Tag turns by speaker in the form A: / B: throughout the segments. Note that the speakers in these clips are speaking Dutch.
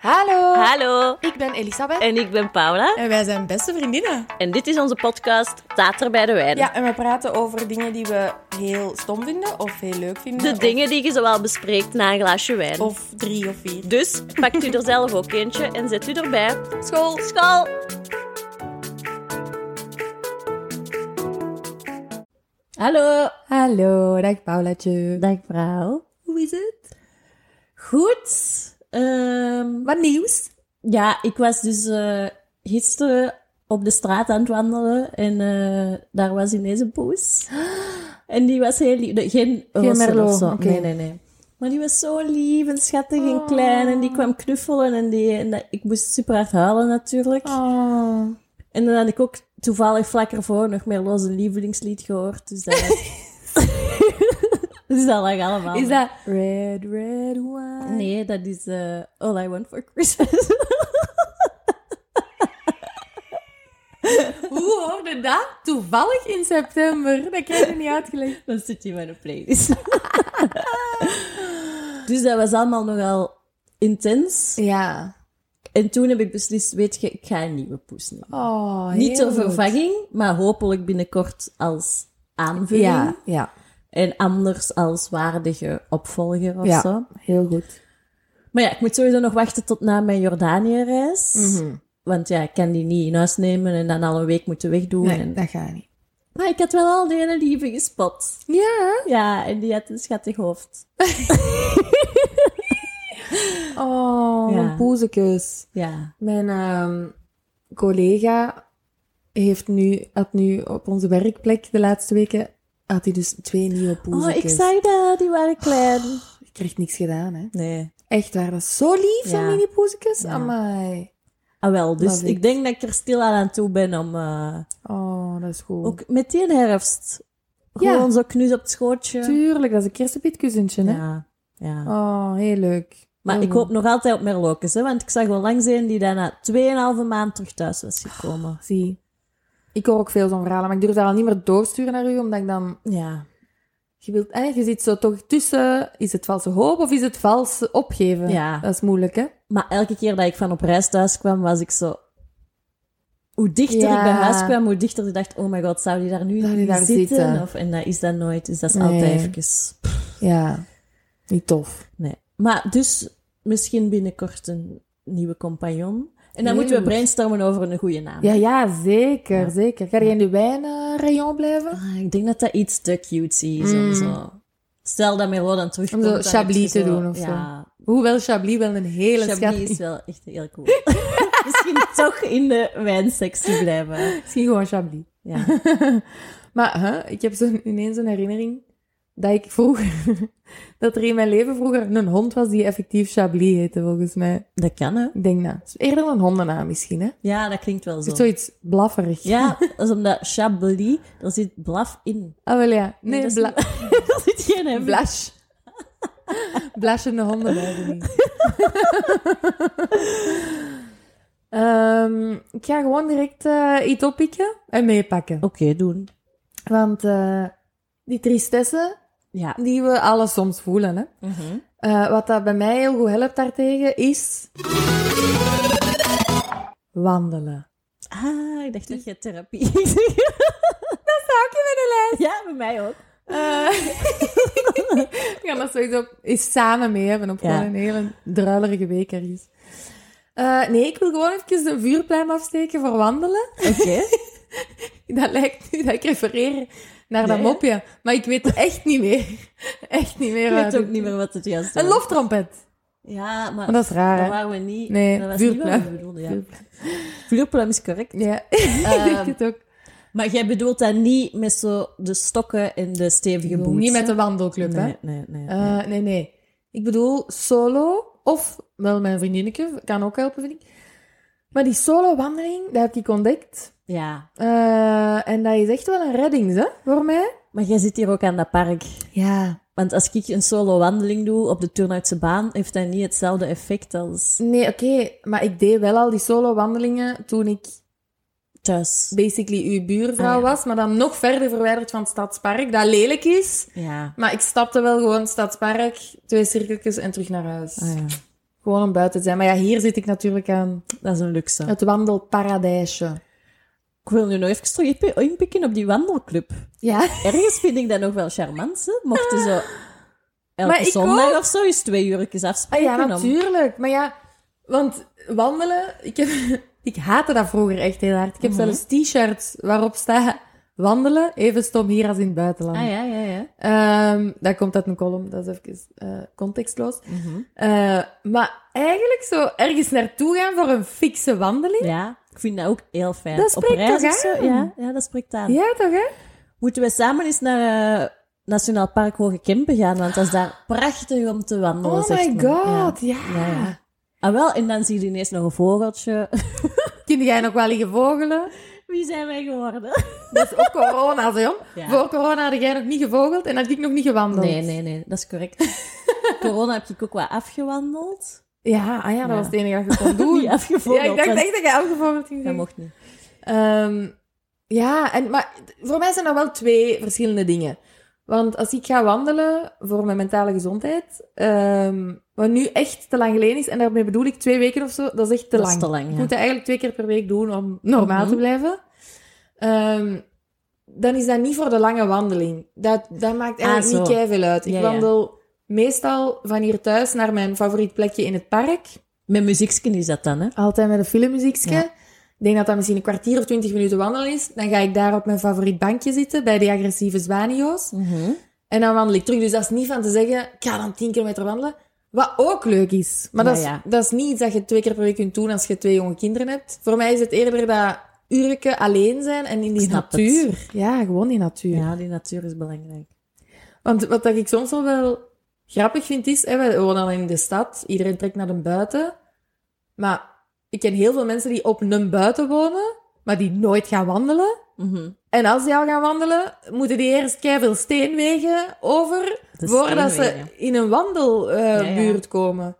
A: Hallo.
B: Hallo,
A: Ik ben Elisabeth.
B: en ik ben Paula.
A: En wij zijn beste vriendinnen.
B: En dit is onze podcast Tater bij de Wijn.
A: Ja, en we praten over dingen die we heel stom vinden of heel leuk vinden.
B: De
A: of-
B: dingen die je zowel bespreekt na een glaasje wijn.
A: Of drie of vier.
B: Dus pakt u er zelf ook eentje en zet u erbij.
A: School.
B: School! Hallo.
A: Hallo, dag Paulaatje.
B: Dag vrouw.
A: Hoe is het?
B: Goed. Ehm,
A: Wat nieuws?
B: ja, ik was dus gisteren op de straat aan het wandelen en eh, daar was ineens een poes. En die was heel lief. De- Geen, Russen
A: Merlot,
B: of zo.
A: oké.
B: Nee, nee, nee. Maar die was zo lief en schattig en
A: Oh.
B: klein. En die kwam knuffelen. En, die, en dat- ik moest super hard huilen natuurlijk.
A: Oh.
B: En dan had ik ook toevallig vlak ervoor nog Merlot zijn lievelingslied gehoord. Dus dat... dus dat lag allemaal.
A: Is dat red, red wine?
B: Nee, dat is eh, All I Want For Christmas.
A: Hoe hoorde dat toevallig in september? Dat krijg je niet uitgelegd.
B: dan zit je met een playlist. dus dat was allemaal nogal intens.
A: Ja.
B: En toen heb ik beslist, weet je, ik ga een nieuwe poes nemen.
A: Oh,
B: Niet
A: heel
B: ter
A: goed.
B: vervanging, maar hopelijk binnenkort als aanvulling.
A: Ja, ja.
B: En anders als waardige opvolger of
A: ja.
B: zo.
A: Heel goed.
B: Maar ja, ik moet sowieso nog wachten tot na mijn Jordanië-reis.
A: Mhm.
B: Want ja, ik kan die niet in huis nemen en dan al een week moeten wegdoen.
A: Nee,
B: en-
A: dat gaat niet.
B: Maar ik had wel al de hele lieve gespot.
A: Ja.
B: Ja, en die had een schattig hoofd.
A: Oh,
B: Ja.
A: mijn poezekus.
B: Ja.
A: Mijn ehm, collega heeft nu, had nu op onze werkplek de laatste weken had hij dus twee nieuwe
B: Oh,
A: poezekus.
B: ik zei dat, die waren klein.
A: Ik kreeg niks gedaan, hè.
B: Nee.
A: Echt waar, dat is zo lief, zo'n
B: Ja.
A: mini poezekus.
B: Ja.
A: Amai.
B: Ah wel, dus
A: Love it.
B: ik denk dat ik er stilaan aan toe ben om... eh,
A: Oh, dat is goed.
B: ook met die herfst.
A: Ja.
B: Gewoon zo knus op het schootje.
A: Tuurlijk, dat is een kersenpietkussentje, hè.
B: Ja, ja.
A: Oh, heel leuk.
B: Maar
A: Heel
B: ik
A: goed.
B: hoop nog altijd op merlokjes, hè, want ik zag wel langs een die daarna 2,5 maand terug thuis was gekomen.
A: Zie. Ik hoor ook veel zo'n verhalen, maar ik durf dat al niet meer doorsturen naar u, omdat ik dan...
B: Ja.
A: Je, wilt, hè, je zit zo toch tussen, is het valse hoop of is het valse opgeven?
B: Ja.
A: Dat is moeilijk, hè?
B: Maar elke keer dat ik van op reis thuis kwam, was ik zo... Hoe dichter
A: Ja.
B: ik bij huis kwam, hoe dichter ik dacht, oh my god, zou die daar nu
A: Zou die
B: niet
A: daar
B: zitten?
A: zitten?
B: Of, en dat is dat nooit, dus dat is
A: Nee.
B: altijd even... pff,
A: Ja, niet tof.
B: nee. Maar dus, misschien binnenkort een nieuwe compagnon. En dan
A: Heel
B: moeten we
A: goed.
B: brainstormen over een goede naam.
A: Ja, ja, zeker,
B: Ja.
A: zeker. Ga jij in de wijnrayon blijven?
B: Ah, ik denk dat dat iets te cutesy is
A: Mm.
B: en zo. Stel dat Merlot dan terugkomt.
A: Om zo
B: dan heb
A: Chablis
B: je
A: te doen of zo.
B: ja,
A: Hoewel Chablis wel een hele
B: Chablis
A: schat
B: is
A: is.
B: wel echt heel cool. Misschien toch in de wijnsectie blijven.
A: Misschien gewoon Chablis.
B: Ja.
A: Maar hè, ik heb zo'n- ineens een herinnering dat ik vroeger... dat er in mijn leven vroeger een hond was die effectief Chablis heette, volgens mij.
B: Dat kan, hè?
A: Ik denk dat. Het is eerder een hondennaam misschien, hè?
B: Ja, dat klinkt wel
A: Het is
B: zo.
A: zoiets blafferig.
B: Ja, dat is omdat Chablis, daar zit blaf in.
A: Ah, wel ja.
B: Nee,
A: Nee,
B: dat is
A: bla-
B: Er zit geen hem in.
A: blash. Blashende honden blijven niet. Ehm, ik ga gewoon direct eh, iets oppikken en meepakken.
B: Oké, doen.
A: Want eh, die tristesse
B: Ja. Mhm.
A: die we alle soms voelen, hè. Eh, wat dat bij mij heel goed helpt daartegen is... Wandelen.
B: Ah,
A: Dus-
B: ik dacht dat je therapie ging zeggen.
A: Dank je, Madeleine.
B: Ja, bij mij ook.
A: Ik ga Eh. dat sowieso eens samen mee hebben op
B: Ja.
A: gewoon een hele druilerige week ergens. Eh, nee, ik wil gewoon even een vuurpluim afsteken voor wandelen.
B: Oké.
A: Dat lijkt nu dat ik refereer naar dat
B: Nee.
A: mopje. Maar ik weet echt niet meer. Echt niet meer.
B: Ik
A: wat
B: weet ook
A: ik-
B: niet meer wat het juist was.
A: Een loftrompet.
B: Ja, maar
A: Maar dat is raar,
B: dat
A: hè?
B: waren we niet.
A: Nee,
B: dat was
A: vuurpluim.
B: niet wat we bedoelden. Ja. Vuurpluim is Ehm, correct.
A: Ja, ik denk het ook.
B: Maar jij bedoelt dat niet met zo de stokken en de
A: Ik
B: stevige
A: bedoel,
B: boots.
A: niet met
B: hè?
A: de wandelclub, hè?
B: Nee, nee, nee. nee.
A: Eh, nee, nee. Ik bedoel solo, of wel mijn vriendinnetje, kan ook helpen, vind ik. Maar die solo-wandeling, dat heb ik ontdekt.
B: Ja.
A: Eh, en dat is echt wel een redding, hè, voor mij.
B: Maar jij zit hier ook aan dat park.
A: Ja.
B: Want als ik een solo wandeling doe op de Turnhoutse baan, heeft dat niet hetzelfde effect als
A: Nee, oké, maar ik deed wel al die solo-wandelingen toen ik
B: thuis.
A: basically uw buurvrouw
B: Ah, ja.
A: was, maar dan nog verder verwijderd van het stadspark, dat lelijk is.
B: Ja.
A: Maar ik stapte wel gewoon stadspark, twee cirkeltjes en terug naar huis.
B: Ah, ja.
A: Gewoon om buiten te zijn. Maar ja, hier zit ik natuurlijk aan
B: Dat is een luxe.
A: het wandelparadijsje.
B: Ik wil nu nog even terug inpi- inpikken op die wandelclub.
A: Ja.
B: Ergens vind ik dat nog wel charmant. Ze mochten zo elke
A: Maar ik
B: zondag of zo eens twee uurtjes
A: Ah,
B: afspreken.
A: ja,
B: om-
A: natuurlijk. Maar ja, want wandelen... Ik, heb, ik haatte dat vroeger echt heel hard. Ik heb
B: Mhm.
A: zelfs t-shirts waarop staat... Wandelen, even stom hier als in het buitenland.
B: Ah ja, ja, ja.
A: Ehm, dat komt uit een column, dat is even eh, contextloos.
B: Mhm.
A: Eh, maar eigenlijk zo ergens naartoe gaan voor een fikse wandeling.
B: Ja, ik vind dat ook heel fijn.
A: Dat
B: Op
A: spreekt
B: reis
A: toch
B: of zo,
A: aan?
B: ja, ja, dat spreekt aan.
A: Ja, toch hè?
B: Moeten we samen eens naar eh, Nationaal Park Hoge Kempen gaan, want dat is daar prachtig om te wandelen.
A: Oh
B: zegt
A: my
B: men. Ja.
A: god, ja.
B: Ja, ja. Ah wel, en dan zie je ineens nog een vogeltje.
A: Kun jij nog wel liggen vogelen?
B: Wie zijn wij geworden?
A: Dat is ook corona, zo. jong.
B: Ja.
A: Voor corona had jij nog niet gevogeld en had ik nog niet gewandeld.
B: Nee, nee, nee, dat is correct. Corona heb ik ook wat afgewandeld.
A: Ja, ah ja, dat
B: Ja.
A: was het enige dat je kon doen.
B: Niet
A: ja,
B: afgevogeld.
A: ik dacht
B: want
A: echt dat je afgevogeld ging
B: Dat
A: zijn.
B: mocht niet.
A: Ehm, ja, en, maar voor mij zijn er wel twee verschillende dingen. Want als ik ga wandelen voor mijn mentale gezondheid, ehm, wat nu echt te lang geleden is, en daarmee bedoel ik twee weken of zo, dat is echt te
B: Dat is
A: lang.
B: te lang,
A: Ik
B: ja.
A: moet dat eigenlijk twee keer per week doen om normaal
B: Mhm.
A: te blijven. Ehm, dan is dat niet voor de lange wandeling. Dat, dat maakt eigenlijk
B: Ah, zo.
A: niet keiveel uit. Ik
B: Ja, ja.
A: wandel meestal van hier thuis naar mijn favoriet plekje in het park.
B: Met muzieksken is dat dan, hè?
A: Altijd met een filmmuziekje.
B: Ja.
A: Ik denk dat dat misschien een kwartier of twintig minuten wandelen is. Dan ga ik daar op mijn favoriet bankje zitten, bij de agressieve zwanio's. En dan wandel ik terug. Dus dat is niet van te zeggen, ik ga dan tien kilometer wandelen. Wat ook leuk is. Maar dat,
B: Ja,
A: is,
B: ja.
A: dat is niet iets dat je twee keer per week kunt doen als je twee jonge kinderen hebt. Voor mij is het eerder dat urenke alleen zijn en in die
B: snap het.
A: natuur. Ja, gewoon die natuur.
B: Ja, die natuur is belangrijk.
A: Want wat dat ik soms al wel grappig vind is, hè, we wonen al in de stad, iedereen trekt naar de buiten. Maar ik ken heel veel mensen die op een buiten wonen, maar die nooit gaan wandelen.
B: Mhm.
A: En als die al gaan wandelen, moeten die eerst veel steenwegen over,
B: De
A: voordat ze
B: steenwegen.
A: in een wandelbuurt
B: Ja, ja.
A: komen.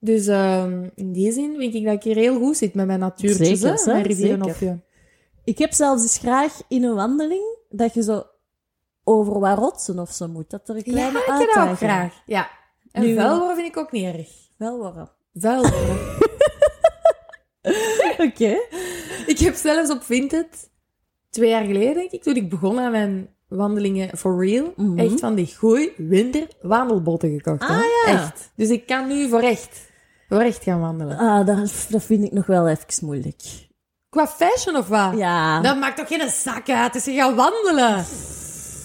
A: Dus ehm, in die zin vind ik dat ik hier heel goed zit met mijn natuurtjes,
B: Zeker,
A: hè, mijn
B: hè,
A: rivierenhofje.
B: Ik heb zelfs eens graag in een wandeling dat je zo over wat rotsen of zo moet. Dat er een
A: Ja, ik
B: kleine
A: heb dat ook
B: uitdaging-
A: graag. Ja. En
B: Nu-
A: vuil worden vind ik ook niet erg.
B: Wel worden.
A: Vuil worden.
B: Oké.
A: Ik heb zelfs op Vinted, twee jaar geleden denk ik, toen ik begon aan mijn wandelingen for real,
B: Mhm.
A: echt van die goeie winter wandelbotten gekocht.
B: Ah,
A: hè.
B: ja.
A: Echt. Dus ik kan nu voor echt, voor echt gaan wandelen.
B: Ah, dat, dat vind ik nog wel even moeilijk.
A: Qua fashion of wat?
B: Ja.
A: Dat maakt toch geen zak uit als je gaat wandelen?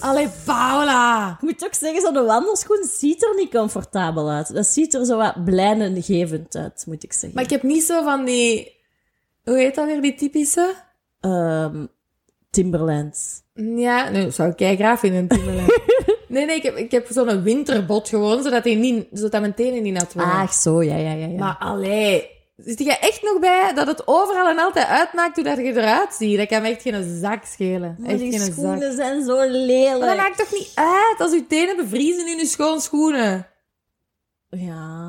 A: Allee, Paula.
B: Ik moet ook zeggen, zo'n wandelschoen ziet er niet comfortabel uit. Dat ziet er zo wat blijnengevend uit, moet ik zeggen.
A: Maar ik heb niet zo van die... Hoe heet dat weer, die typische?
B: Ehm, Timberlands.
A: Ja, nu zou ik kei graag vinden, Timberland. nee, nee, ik heb, ik heb zo'n winterbot gewoon, zodat, die niet, zodat mijn tenen niet nat worden.
B: Ach Ah, zo, ja, ja, ja. ja.
A: Maar allee, zit jij echt nog bij dat het overal en altijd uitmaakt hoe dat je eruit ziet? Dat kan me echt geen zak schelen.
B: Maar
A: echt
B: die
A: geen
B: schoenen
A: zak.
B: zijn zo lelijk.
A: Maar dat maakt toch niet uit als uw tenen bevriezen in uw schoon schoenen?
B: Ja,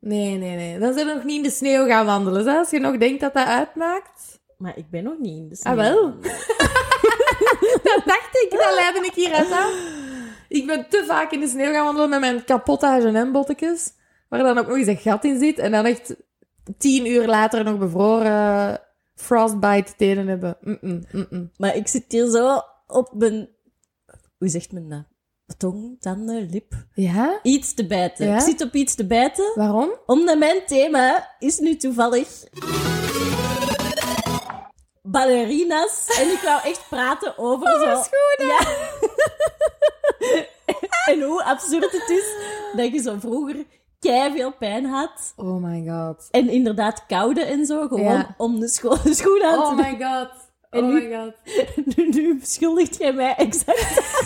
A: Nee, nee, nee. Dan zijn we nog niet in de sneeuw gaan wandelen. Hè? Als je nog denkt dat dat uitmaakt.
B: maar ik ben nog niet dus in de
A: Ah,
B: sneeuw.
A: wel. dat dacht ik.
B: Ah.
A: Dat leidde ik hieruit aan. Ik ben te vaak in de sneeuw gaan wandelen met mijn kapotte H&M-bottekes. Waar dan ook nog eens een gat in zit. En dan echt tien uur later nog bevroren frostbite tenen hebben. Mm-mm, mm-mm.
B: Maar ik zit hier zo op mijn... Hoe zegt men dat? Tong, tanden, lip.
A: Ja?
B: Iets te bijten.
A: Ja?
B: Ik zit op iets te bijten,
A: Waarom?
B: omdat mijn thema is nu toevallig... Ballerina's. En ik wou echt praten over
A: Oh,
B: zo...
A: schoenen!
B: Ja. en hoe absurd het is dat je zo vroeger veel pijn had.
A: Oh my god.
B: En inderdaad koude en zo, gewoon
A: Ja.
B: om de scho schoen aan
A: Oh
B: te
A: my god.
B: En
A: Oh
B: nu-
A: my god.
B: doen. Nu, nu beschuldigt jij mij exact.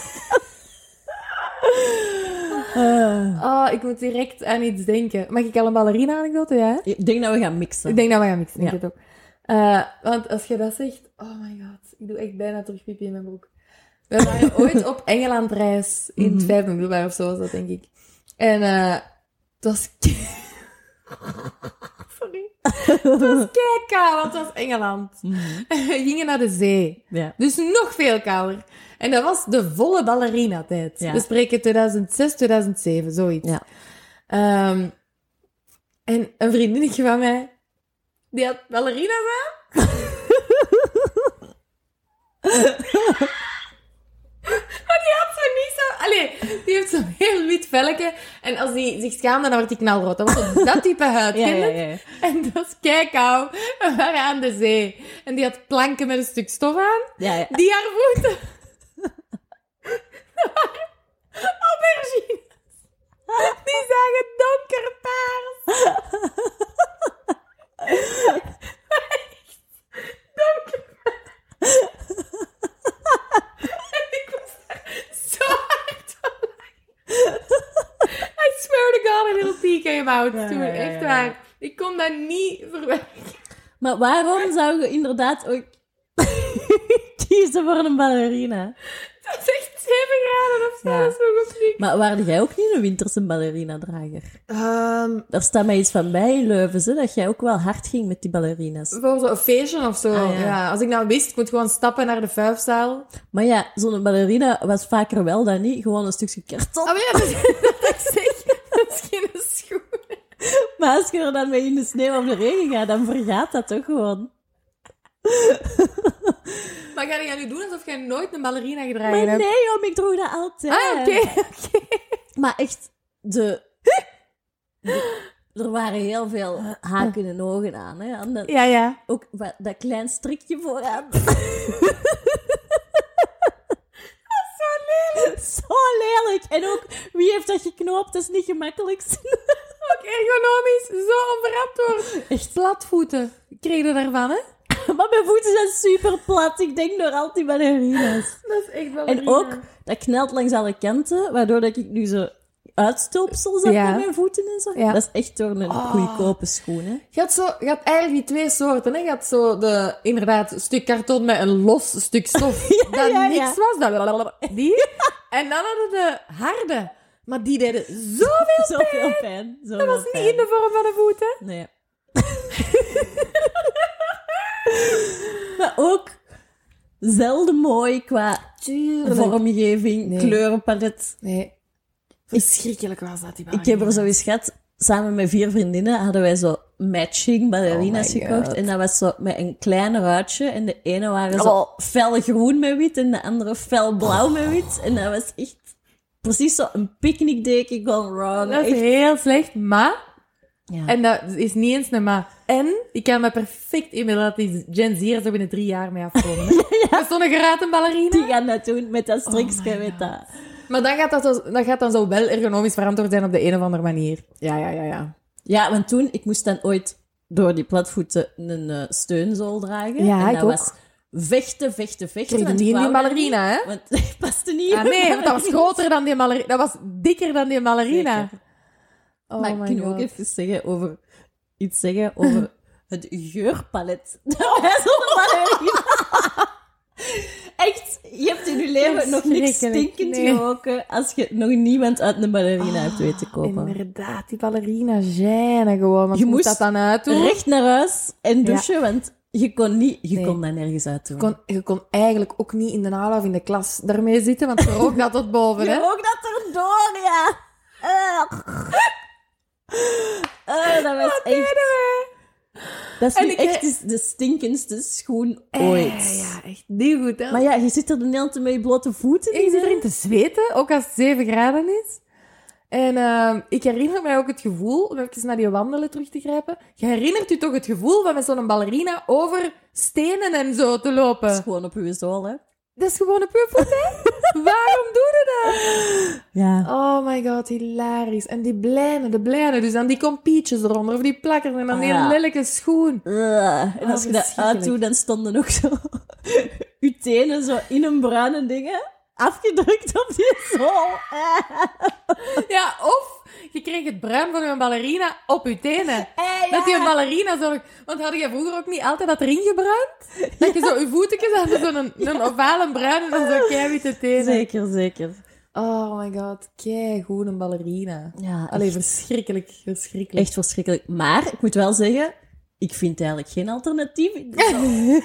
B: Eh,
A: Oh, ik moet direct aan iets denken. Mag ik al een ballerina-anekdote, ja?
B: ik denk dat we gaan mixen.
A: Ik denk dat we gaan mixen, ik
B: Ja.
A: denk het ook. Eh, want als je dat zegt, oh my god, ik doe echt bijna terug pipi in mijn broek. We waren ooit op Engelandreis in het vijfde middelbaar of zo was dat, denk ik. En eh, het was... ke- Sorry. Het was kei want het was Engeland. En we gingen naar de zee.
B: Ja.
A: Dus nog veel kouder. En dat was de volle ballerina-tijd.
B: Ja.
A: We spreken 2006, 2007, zoiets.
B: Ja.
A: Ehm, En een vriendinnetje van mij, die had ballerina's aan. maar die had zo niet zo... Allee, die heeft zo'n heel wit velletje. En als die zich schaamde, dan werd die knalrood. Dat was zo dat type huid,
B: Ja,
A: ken je
B: ja,
A: het?
B: ja.
A: En dat was keikou. We waren aan de zee. En die had planken met een stuk stof aan.
B: ja, ja.
A: Die haar voeten... Dat waren Aubergines. Die zagen donker paars. ik was daar zo hard van lachen. I swear to God, a little pee came out.
B: Ja,
A: toen,
B: ja, ja,
A: echt
B: ja.
A: waar. Ik kon dat niet verwerken.
B: Maar waarom zou je inderdaad ook kiezen voor een ballerina?
A: Dat is echt 7 graden of zo.
B: Ja.
A: Dat is nog op zich.
B: Maar waarde jij ook niet een winterse ballerina-drager?
A: Ehm,
B: Daar staat mij iets van bij in Leuven, hè, dat jij ook wel hard ging met die ballerina's.
A: voor zo'n feestje of zo.
B: Ah, ja.
A: ja. Als ik nou wist, ik moet gewoon stappen naar de vuifzaal.
B: Maar ja, zo'n ballerina was vaker wel dan niet, gewoon een stukje karton.
A: Oh ja, dat, dat is echt dat is geen schoen.
B: Maar als je er dan mee in de sneeuw of de regen gaat, dan vergaat dat toch gewoon.
A: Maar ga jij nu doen alsof jij nooit een ballerina gedragen
B: Maar
A: hebt?
B: nee, om ik droeg dat altijd.
A: Ah, oké.
B: Maar echt, de... de- Er waren heel veel haken en ogen aan, hè. aan dat-
A: Ja, ja.
B: ook wa- dat klein strikje vooraan. Zo lelijk. Zo lelijk. En ook, wie heeft dat geknoopt? Dat is niet gemakkelijk.
A: Ook ergonomisch, zo onverantwoord.
B: Echt.
A: Platvoeten. Kreeg je daarvan, hè?
B: Maar mijn voeten zijn super plat. Ik denk door al die ballerina's.
A: Dat is echt wel
B: En ook, dat knelt langs alle kanten, waardoor dat ik nu zo uitstulpsels heb
A: Ja.
B: met mijn voeten en zo.
A: Ja.
B: Dat is echt door een
A: Oh.
B: goedkope schoen, hè.
A: Je had, zo, je had eigenlijk die twee soorten. Hè? Je had zo de, inderdaad een stuk karton met een los stuk stof. dat
B: ja, ja.
A: niks was. Dat blablabla. die. En dan hadden de harde. Maar die deden zoveel.
B: Zoveel pijn.
A: Dat was niet in de vorm van een voet, hè?
B: Nee. maar ook zelden mooi qua
A: Tuurlijk.
B: vormgeving,
A: Nee.
B: kleurenpalet.
A: Nee. Verschrikkelijk was dat, die
B: Ik heb er zo eens gehad, samen met vier vriendinnen hadden wij zo matching ballerina's
A: Oh my
B: gekocht.
A: God.
B: En dat was zo met een klein ruitje. En de ene waren zo
A: Oh.
B: fel groen met wit en de andere fel blauw met wit. En dat was echt precies zo een picknickdeken gone wrong.
A: Dat is
B: Echt.
A: heel slecht, maar...
B: Ja.
A: En dat is niet eens een maar. En, ik kan me perfect inbeelden dat die Gen Z'ers er binnen drie jaar mee afkomen. hè. Er stond een geraten ballerina.
B: die gaan dat doen met dat strikje,
A: Oh my
B: met
A: God.
B: dat...
A: Maar dan gaat dat, zo- dat gaat dan zo wel ergonomisch verantwoord zijn op de een of andere manier. Ja, ja, ja, ja.
B: Ja, want toen, ik moest dan ooit door die platvoeten een eh, steunzool dragen.
A: Ja,
B: en
A: ik
B: dat
A: ook.
B: was vechten, vechten, vechten.
A: Kreeg
B: want
A: die
B: ik
A: in die
B: wou dat
A: ballerina,
B: niet,
A: hè?
B: Want ik paste niet.
A: Ah,
B: in de
A: nee, want dat was
B: ballerina.
A: groter dan die ballerina. Dat was dikker dan die ballerina.
B: Zeker.
A: Oh
B: maar ik
A: my
B: kan ook
A: God.
B: even zeggen over, iets zeggen over het geurpalet. Dat was op de ballerina. Echt, je hebt in je leven nog niks
A: Verschrikkelijk,
B: stinkend
A: nee. Ah,
B: geroken als je nog niemand uit een ballerina hebt weten komen.
A: Inderdaad, die ballerina gêne gewoon. Want
B: Je
A: je moest dat
B: moest
A: dan uitdoen.
B: Recht naar huis en douchen, want je kon, niet, je
A: Nee.
B: kon dat nergens uit doen.
A: Je kon, je kon eigenlijk ook niet in de aula of in de klas daarmee zitten, want ze rook dat tot boven, hè?
B: Je ook dat erdoor, ja. Ugh. Eh, dat was echt... Dat is
A: En
B: nu
A: ik-
B: echt de- de stinkendste schoen ooit.
A: Eh, ja, echt niet goed, hè?
B: Maar ja, je zit er de hele tijd met je blote voeten
A: Ik
B: in.
A: zit
B: hè?
A: erin te zweten, ook als het 7 graden is. En ehm, ik herinner mij ook het gevoel, om even naar die wandelen terug te grijpen. Je herinnert je toch het gevoel van met zo'n ballerina over stenen en zo te
B: Dat is
A: lopen?
B: gewoon op je zool, hè.
A: Dat is gewoon een purpose, hè? Waarom doe je dat?
B: Ja.
A: Oh my god, hilarisch. En die blijnen, de blijnen. Dus dan die kompietjes eronder, of die plakkers, en dan die
B: Ja.
A: lelijke schoen.
B: en als
A: Oh,
B: je dat
A: verschrikkelijk.
B: uitdoet, dan stonden ook zo... Je tenen zo in een bruine dingen. Afgedrukt op die zool. Eh,
A: Ja, of je kreeg het bruin van je ballerina op je tenen.
B: eh,
A: Dat die
B: ja.
A: ballerina zo... Want hadden jij vroeger ook niet altijd dat erin gebruikt? Dat je zo je voetjes had, zo'n een, een ovale bruin en dan zo keiwitte tenen.
B: Zeker, zeker.
A: Oh my god, keigoed een ballerina.
B: Ja,
A: Allee, verschrikkelijk, verschrikkelijk.
B: Echt verschrikkelijk. Maar ik moet wel zeggen, ik vind eigenlijk geen alternatief. Ik bedoel,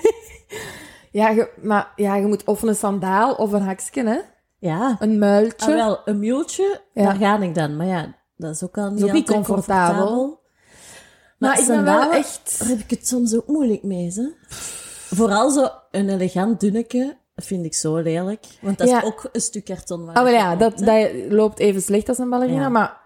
A: Ja, je, maar ja, je moet of een sandaal of een haksken, hè?
B: ja,
A: Een muiltje.
B: ah, wel, een muletje,
A: Ja.
B: daar ga ik dan. Maar ja, dat is ook al niet
A: ook niet
B: altijd
A: comfortabel. Maar, ik ben wel
B: sandalen-
A: echt...
B: Daar heb ik het soms ook moeilijk mee, hè. Vooral zo een elegant dunneke vind ik zo lelijk. Want dat
A: Ja.
B: is ook een stuk karton. waar
A: Ah, wel
B: het
A: ja,
B: op
A: dat,
B: komt, hè.
A: dat loopt even slecht als een ballerina,
B: Ja.
A: maar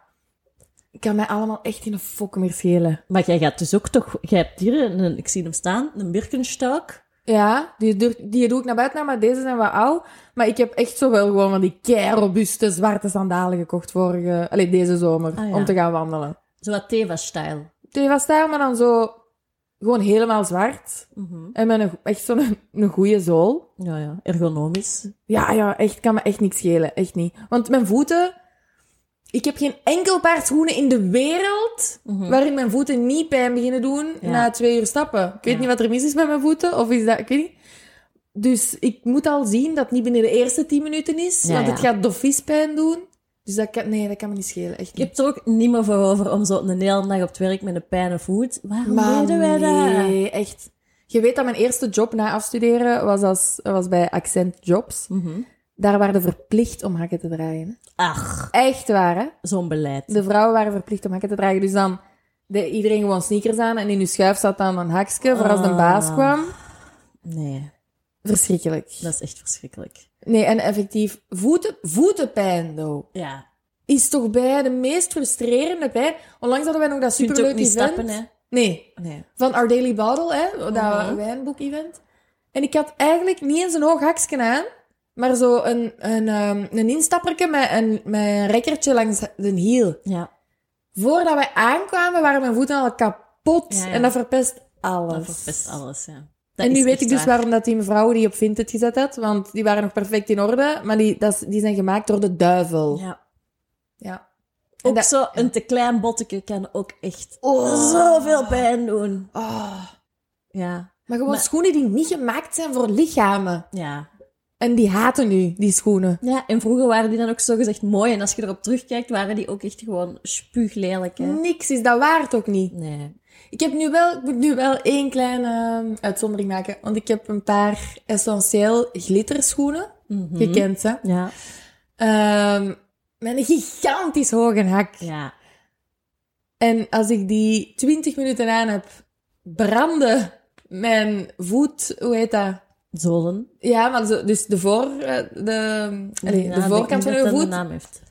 A: ik kan mij allemaal echt in een fok meer schelen.
B: Maar jij gaat dus ook toch... Jij hebt hier, een, ik zie hem staan, een Birkenstock.
A: Ja, die, doe- die doe ik naar buiten, maar deze zijn wat oud. Maar ik heb echt zowel gewoon van die keirobuuste zwarte sandalen gekocht vorige... Allee, deze zomer,
B: Ah, ja.
A: om te gaan wandelen.
B: Zo wat Teva-style.
A: Die was daar, maar dan zo gewoon helemaal zwart.
B: Mhm.
A: En met een, echt zo'n een goede zool.
B: Ja, ja. Ergonomisch.
A: Ja, ja, echt, kan me echt niks schelen. Echt niet. Want mijn voeten... Ik heb geen enkel paar schoenen in de wereld
B: Mhm.
A: waarin mijn voeten niet pijn beginnen doen
B: Ja.
A: na twee uur stappen. Ik weet
B: Ja.
A: niet wat er mis is met mijn voeten, of is dat... Ik weet niet. Dus ik moet al zien dat het niet binnen de eerste tien minuten is,
B: Ja,
A: want het
B: ja.
A: gaat doffies pijn doen. Dus dat kan... Nee, dat kan me niet schelen. Echt
B: Ik
A: niet.
B: heb er ook niet meer voor over om zo een hele dag op het werk met een pijne voet. Waarom
A: Maar
B: deden wij dat?
A: nee, echt. Je weet dat mijn eerste job na afstuderen was, als, was bij Accent Jobs.
B: Mhm.
A: Daar waren ze verplicht om hakken te dragen.
B: Ach,
A: Echt waar, hè?
B: zo'n beleid.
A: De vrouwen waren verplicht om hakken te dragen. Dus dan deed iedereen gewoon sneakers aan. En in uw schuif zat dan een hakje voor als de
B: Ah.
A: baas kwam.
B: Nee,
A: Verschrikkelijk.
B: dat is echt verschrikkelijk.
A: Nee, en effectief, voeten, voetenpijn, though,
B: Ja,
A: is toch bij de meest frustrerende pijn. Onlangs hadden wij nog dat
B: je kunt ook
A: superleuk
B: niet
A: event.
B: stappen, hè.
A: Nee,
B: Nee.
A: van Our Daily Bottle, hè, dat
B: Mhm.
A: wijnboek-event. En ik had eigenlijk niet eens een hoog haksken aan, maar zo een, een, ehm, een instapperke met een, met een rekkertje langs de hiel.
B: Ja,
A: Voordat wij aankwamen, waren mijn voeten al kapot.
B: Ja, ja.
A: En dat verpest alles.
B: dat verpest alles, ja. Dat
A: en nu
B: is
A: weet
B: echt
A: ik dus
B: waar.
A: waarom dat die mevrouwen die op Vinted gezet had, want die waren nog perfect in orde, maar die, dat is- die zijn gemaakt door de duivel. Ja.
B: Ja.
A: En
B: Ook
A: dat-
B: zo, een te klein botteke kan ook echt
A: Oh.
B: zoveel pijn doen.
A: Oh.
B: Ja,
A: Maar gewoon
B: Maar-
A: schoenen die niet gemaakt zijn voor lichamen.
B: ja.
A: En die haten nu, die schoenen.
B: Ja, en vroeger waren die dan ook zogezegd mooi. En als je erop terugkijkt, waren die ook echt gewoon spuuglelijk, hè.
A: Niks is dat waard ook niet.
B: Nee.
A: Ik, heb nu wel, ik moet nu wel één kleine ehm, uitzondering maken, want ik heb een paar essentieel glitterschoenen.
B: Mhm.
A: Je kent ze.
B: Ja.
A: Ehm, met een gigantisch hoge hak.
B: Ja.
A: En als ik die 20 minuten aan heb, branden mijn voet, hoe heet dat?
B: Zolen.
A: Ja, maar zo, dus de, voor, eh, de, allee,
B: Ja,
A: de voorkant
B: ik
A: van
B: denk
A: uw
B: dat dat een
A: voet.
B: naam heeft.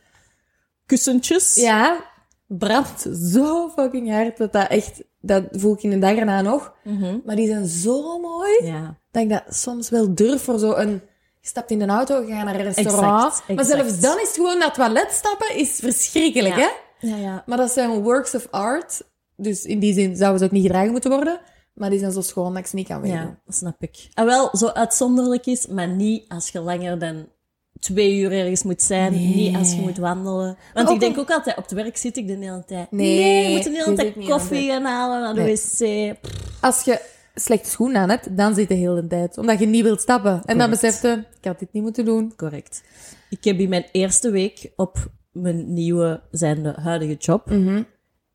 B: Kussentjes?
A: Ja, brandt zo fucking hard dat dat echt, dat voel ik in de dag erna nog.
B: Mhm.
A: Maar die zijn zo mooi
B: Ja.
A: dat ik dat soms wel durf voor zo'n. Je stapt in een auto, je gaat naar een restaurant.
B: Exact,
A: Maar
B: exact.
A: zelfs dan is het gewoon naar het toilet stappen is verschrikkelijk,
B: Ja.
A: hè?
B: Ja, ja.
A: Maar dat zijn works of art. Dus in die zin zouden ze ook niet gedragen moeten worden. Maar die zijn zo schoon dat ik ze niet kan weten.
B: Ja, dat snap ik. En wel, zo uitzonderlijk is, maar niet als je langer dan twee uur ergens moet zijn.
A: Nee.
B: Niet als je moet wandelen. Want
A: ook
B: ik denk
A: om-
B: ook altijd, op het werk zit ik de hele tijd.
A: Nee,
B: ik moet de
A: dat
B: hele
A: doe ik
B: tijd
A: niet
B: koffie gaan halen naar de
A: Nee.
B: wc. Pff,
A: Als je slechte schoenen aan hebt, dan zit je heel de tijd. Omdat je niet wilt stappen. En dan
B: Correct.
A: beseft je, ik had dit niet moeten doen.
B: Correct. Ik heb in mijn eerste week op mijn nieuwe, zijnde huidige job,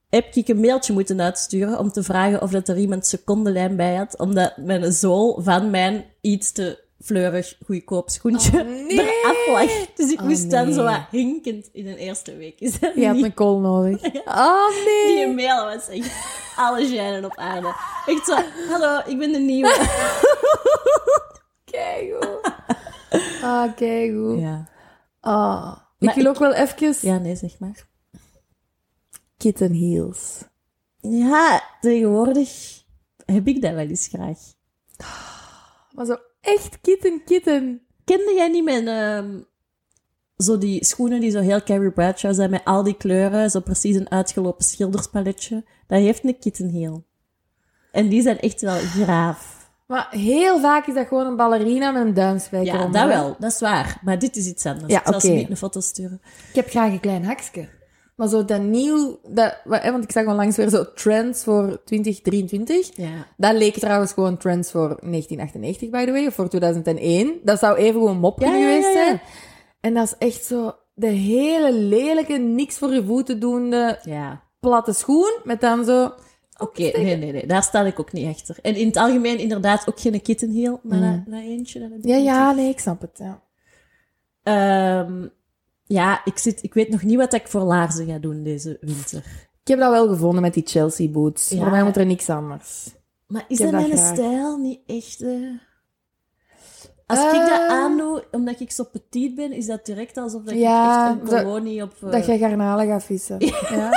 B: heb ik een mailtje moeten uitsturen om te vragen of dat er iemand secondenlijn bij had, omdat mijn zool van mijn iets te fleurig goedkoop schoentje
A: Oh, nee.
B: eraf lag. Dus ik
A: Oh,
B: moest dan
A: nee.
B: zo wat hinkend in de eerste week. Is dat
A: Je had
B: niet?
A: een kool nodig. Oh nee.
B: Die mail was echt alle genen op aarde. Echt zo, hallo, ik ben de nieuwe.
A: Keigoed. Ah, keigoed.
B: Ja,
A: Ah. Ik
B: Maar
A: wil
B: ik-
A: ook wel even
B: ja nee, zeg maar.
A: kitten heels.
B: Ja, tegenwoordig heb ik dat wel eens graag.
A: Maar zo echt kitten, kitten.
B: Kende jij niet mijn... ehm, zo die schoenen die zo heel Carrie Bradshaw zijn met al die kleuren. Zo precies een uitgelopen schilderspaletje. Dat heeft een kittenheel. En die zijn echt wel graaf.
A: Maar heel vaak is dat gewoon een ballerina met een duimspijker
B: Ja,
A: onder.
B: dat wel. Dat is waar. Maar dit is iets anders.
A: Ja,
B: ik zal ze
A: oké.
B: niet een foto sturen.
A: Ik heb graag een klein hakske. Maar zo dat nieuw... Dat, wa- hè, want ik zag onlangs weer zo trends voor 2023.
B: Ja.
A: Dat leek trouwens gewoon trends voor 1998, by the way. Of voor 2001. Dat zou even gewoon mop
B: Ja,
A: kunnen
B: ja, ja,
A: geweest
B: ja.
A: zijn. En dat is echt zo... De hele lelijke, niks voor je voeten doende,
B: Ja.
A: platte schoen. Met dan zo...
B: Oké, nee, nee, nee. Daar sta ik ook niet achter. En in het algemeen inderdaad ook geen kittenheel. Maar dat dat eentje, dat heb ik
A: Mm. Ja,
B: niet.
A: ja, nee, ik snap het. Ja.
B: Ehm, ja, ik, zit, ik weet nog niet wat ik voor laarzen ga doen deze winter.
A: Ik heb dat wel gevonden met die Chelsea boots.
B: Ja.
A: Voor mij moet er niks anders.
B: Maar is
A: Ik
B: dat
A: heb dat
B: mijn
A: graag.
B: stijl niet echt? eh? Als
A: Eh.
B: ik dat aandoe, omdat ik zo petit ben, is dat direct alsof dat
A: Ja,
B: ik echt
A: dat-
B: een kolonie op... eh,
A: Dat jij garnalen gaat vissen. Ja.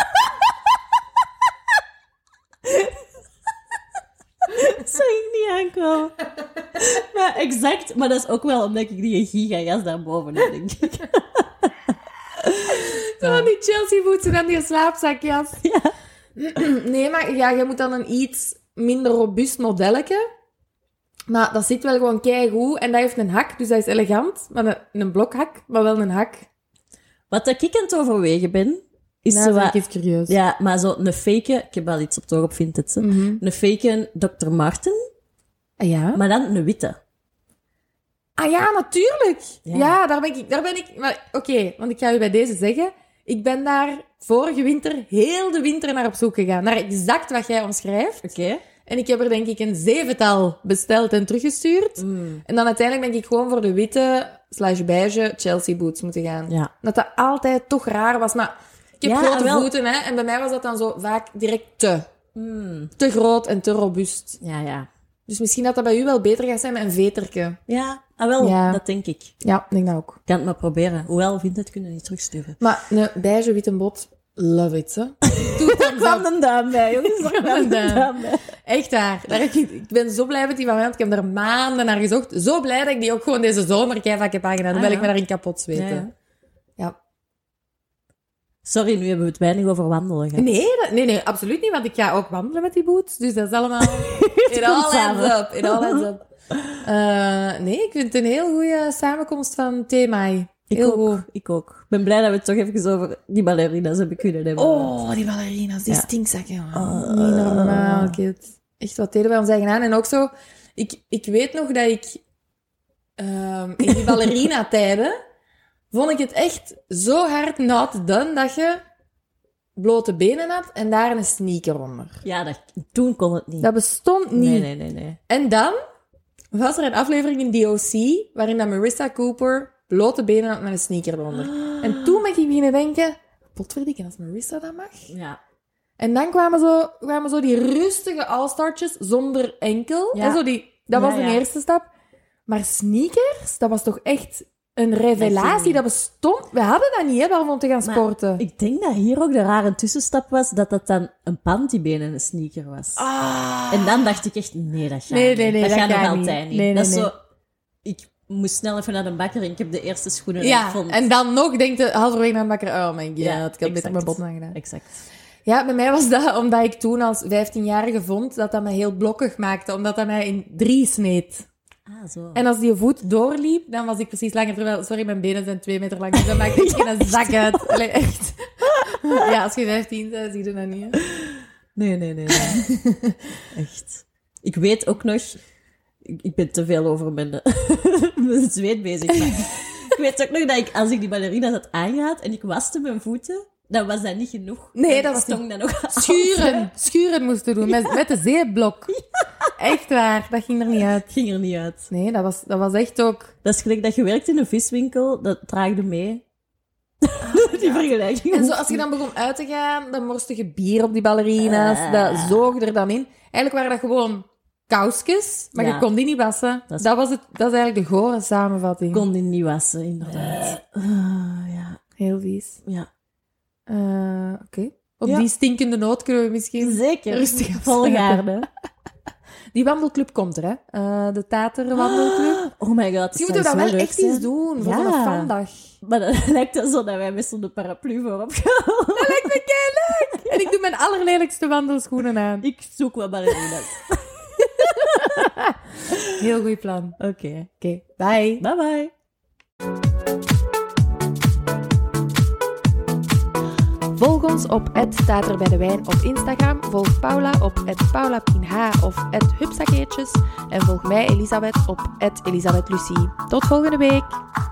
B: Dat zou ik niet aankomen. maar exact. Maar dat is ook wel omdat ik die gigajas daarboven heb, denk ik.
A: Zo, die Chelsea boots en dan die slaapzakjas.
B: Ja.
A: Nee, maar ja, je moet dan een iets minder robuust modelletje. Maar dat zit wel gewoon keigoed. En dat heeft een hak, dus dat is elegant. Maar een, een blokhak, maar wel een hak.
B: Wat dat ik aan het overwegen ben, is
A: Nou,
B: zo
A: ben
B: wat...
A: ik even curieus.
B: Ja, maar zo een fake... Ik heb al iets op het oog op Vinted, hè.
A: Mhm.
B: Een fake Dr. Marten,
A: Ah, ja?
B: maar dan een witte.
A: Ah ja, natuurlijk. Ja,
B: Ja.
A: daar ben ik. Daar ben ik maar oké, want ik ga u bij deze zeggen. Ik ben daar vorige winter, heel de winter naar op zoek gegaan. Naar exact wat jij omschrijft.
B: Oké.
A: En ik heb er denk ik een zevental besteld en teruggestuurd.
B: Mm.
A: En dan uiteindelijk ben ik gewoon voor de witte slash beige Chelsea boots moeten gaan.
B: Ja.
A: Dat dat altijd toch raar was. Maar ik heb
B: Ja,
A: grote
B: wel.
A: voeten, hè. En bij mij was dat dan zo vaak direct te. Te groot en te robuust.
B: Mm. Ja, ja.
A: Dus misschien dat dat bij u wel beter gaat zijn met een veterke.
B: Ja, ah, wel,
A: Ja.
B: dat denk ik.
A: Ja, ik denk dat ook.
B: Ik kan het maar proberen. Hoewel, Vinted kunnen niet terugsturen.
A: Maar een beige witte bot, love it, hè. Doe het dan zelf.
B: een duim bij, jongens.
A: Er kwam een duim Echt waar. Daar heb ik, ik ben zo blij met die van mij, want ik heb er maanden naar gezocht. Zo blij dat ik die ook gewoon deze zomer keihard heb aangedaan. Hoewel
B: Ah, ja.
A: ik me daarin kapot zweten.
B: Ja.
A: Ja.
B: Sorry, nu hebben we het weinig over wandelen gehad.
A: Nee, dat- nee, nee, absoluut niet, want ik ga ook wandelen met die boots. Dus dat is allemaal... It all adds
B: samen.
A: up. It all adds up. Eh, nee, ik vind het een heel goede samenkomst van Themai.
B: Ik
A: heel
B: ook,
A: goed.
B: ik ook. Ik ben blij dat we het toch even over die ballerina's hebben kunnen hebben.
A: Oh, die ballerina's, die
B: Ja.
A: stinkzakken. jongen. Oh, Niet normaal, kid. Echt, wat deden wij ons eigen aan? En ook zo, ik, ik weet nog dat ik ehm, in die ballerina-tijden vond ik het echt zo hard not done dat je blote benen had en daar een sneaker onder.
B: Ja, dat, toen kon het niet.
A: Dat bestond niet.
B: Nee, nee, nee, nee.
A: En dan was er een aflevering in DOC waarin dat Marissa Cooper blote benen had met een sneaker eronder.
B: Ah.
A: En toen ben ik beginnen denken, potverdikke, als Marissa dat mag...
B: Ja.
A: En dan kwamen zo, kwamen zo die rustige all-startjes zonder enkel.
B: Ja.
A: En zo die, dat
B: Ja,
A: was de
B: ja.
A: eerste stap. Maar sneakers, dat was toch echt een revelatie.
B: niet.
A: Dat bestond. We hadden dat niet, hè, behalve om te gaan
B: Maar
A: sporten.
B: Ik denk dat hier ook de rare tussenstap was dat dat dan een pantybeen en een sneaker was.
A: Ah.
B: En dan dacht ik echt, nee, dat gaat
A: Nee,
B: niet.
A: nee, nee,
B: dat,
A: dat
B: gaat nog
A: gaat niet.
B: altijd niet.
A: Nee, nee,
B: dat is
A: nee.
B: zo... Ik moest snel even naar de bakker en ik heb de eerste schoenen die ik
A: Ja,
B: vond.
A: en dan nog denkt de halverwege naar de bakker, oh mijn god,
B: Ja,
A: ik had beter
B: exact.
A: mijn bot aangedaan.
B: Exact.
A: Ja, bij mij was dat omdat ik toen als 15-jarige vond dat dat mij heel blokkig maakte, omdat dat mij in drie sneed.
B: Ah, zo.
A: En als die voet doorliep, dan was ik precies langer. Terwijl, sorry, mijn benen zijn twee meter lang, dus dat maakt echt geen zak uit. Allee, echt. Ja, als je 15 bent, zie je dat niet. hè.
B: Nee, nee, nee. nee. Echt. Ik weet ook nog... Ik, ik ben te veel over mijn, mijn zweet bezig. Maar ik weet ook nog dat ik, als ik die ballerina's had aangehad en ik waste mijn voeten, dan was dat niet genoeg.
A: Nee,
B: Dan
A: dat was
B: stong dat nog aan.
A: Schuren, schuren moesten doen met, met de zeeblok. Echt waar, dat ging er niet uit.
B: ging er niet uit.
A: Nee, dat was, dat was echt ook.
B: Dat is gelijk dat je werkt in een viswinkel, dat traagde mee. die vergelijking.
A: Ah, En zo, als je dan begon uit te gaan, dan morste je bier op die
B: Eh.
A: ballerina's. Dat zoog je er dan in. Eigenlijk waren dat gewoon kousjes, maar je
B: Ja.
A: kon die niet wassen.
B: Dat
A: Dat,
B: is-
A: was het, dat is eigenlijk de gore samenvatting.
B: kon die niet wassen, inderdaad. Ah, ja,
A: Heel vies.
B: ja.
A: Eh, Oké. Op
B: Ja.
A: die stinkende noot kunnen we misschien...
B: Zeker.
A: Rustig afsluiten.
B: Volgaarde.
A: Die wandelclub komt er, hè? Eh, de
B: Ah,
A: Tater wandelclub.
B: Oh my god.
A: Misschien moeten we daar wel echt
B: doen.
A: iets doen voor
B: Ja.
A: een vandag.
B: Maar dan lijkt het zo dat wij met zo'n paraplu voorop gaan.
A: Dat lijkt me leuk. En ik doe mijn allerlelijkste wandelschoenen aan.
B: Ik zoek wel ballerina's.
A: Heel goed plan.
B: Oké.
A: Oké, bye.
B: Bye bye.
A: Volg ons op Tater bij de Wijn op Instagram. Volg Paula op paulapinh of hupsakeertjes. En volg mij, Elisabeth, op Elisabeth Lucie. Tot volgende week.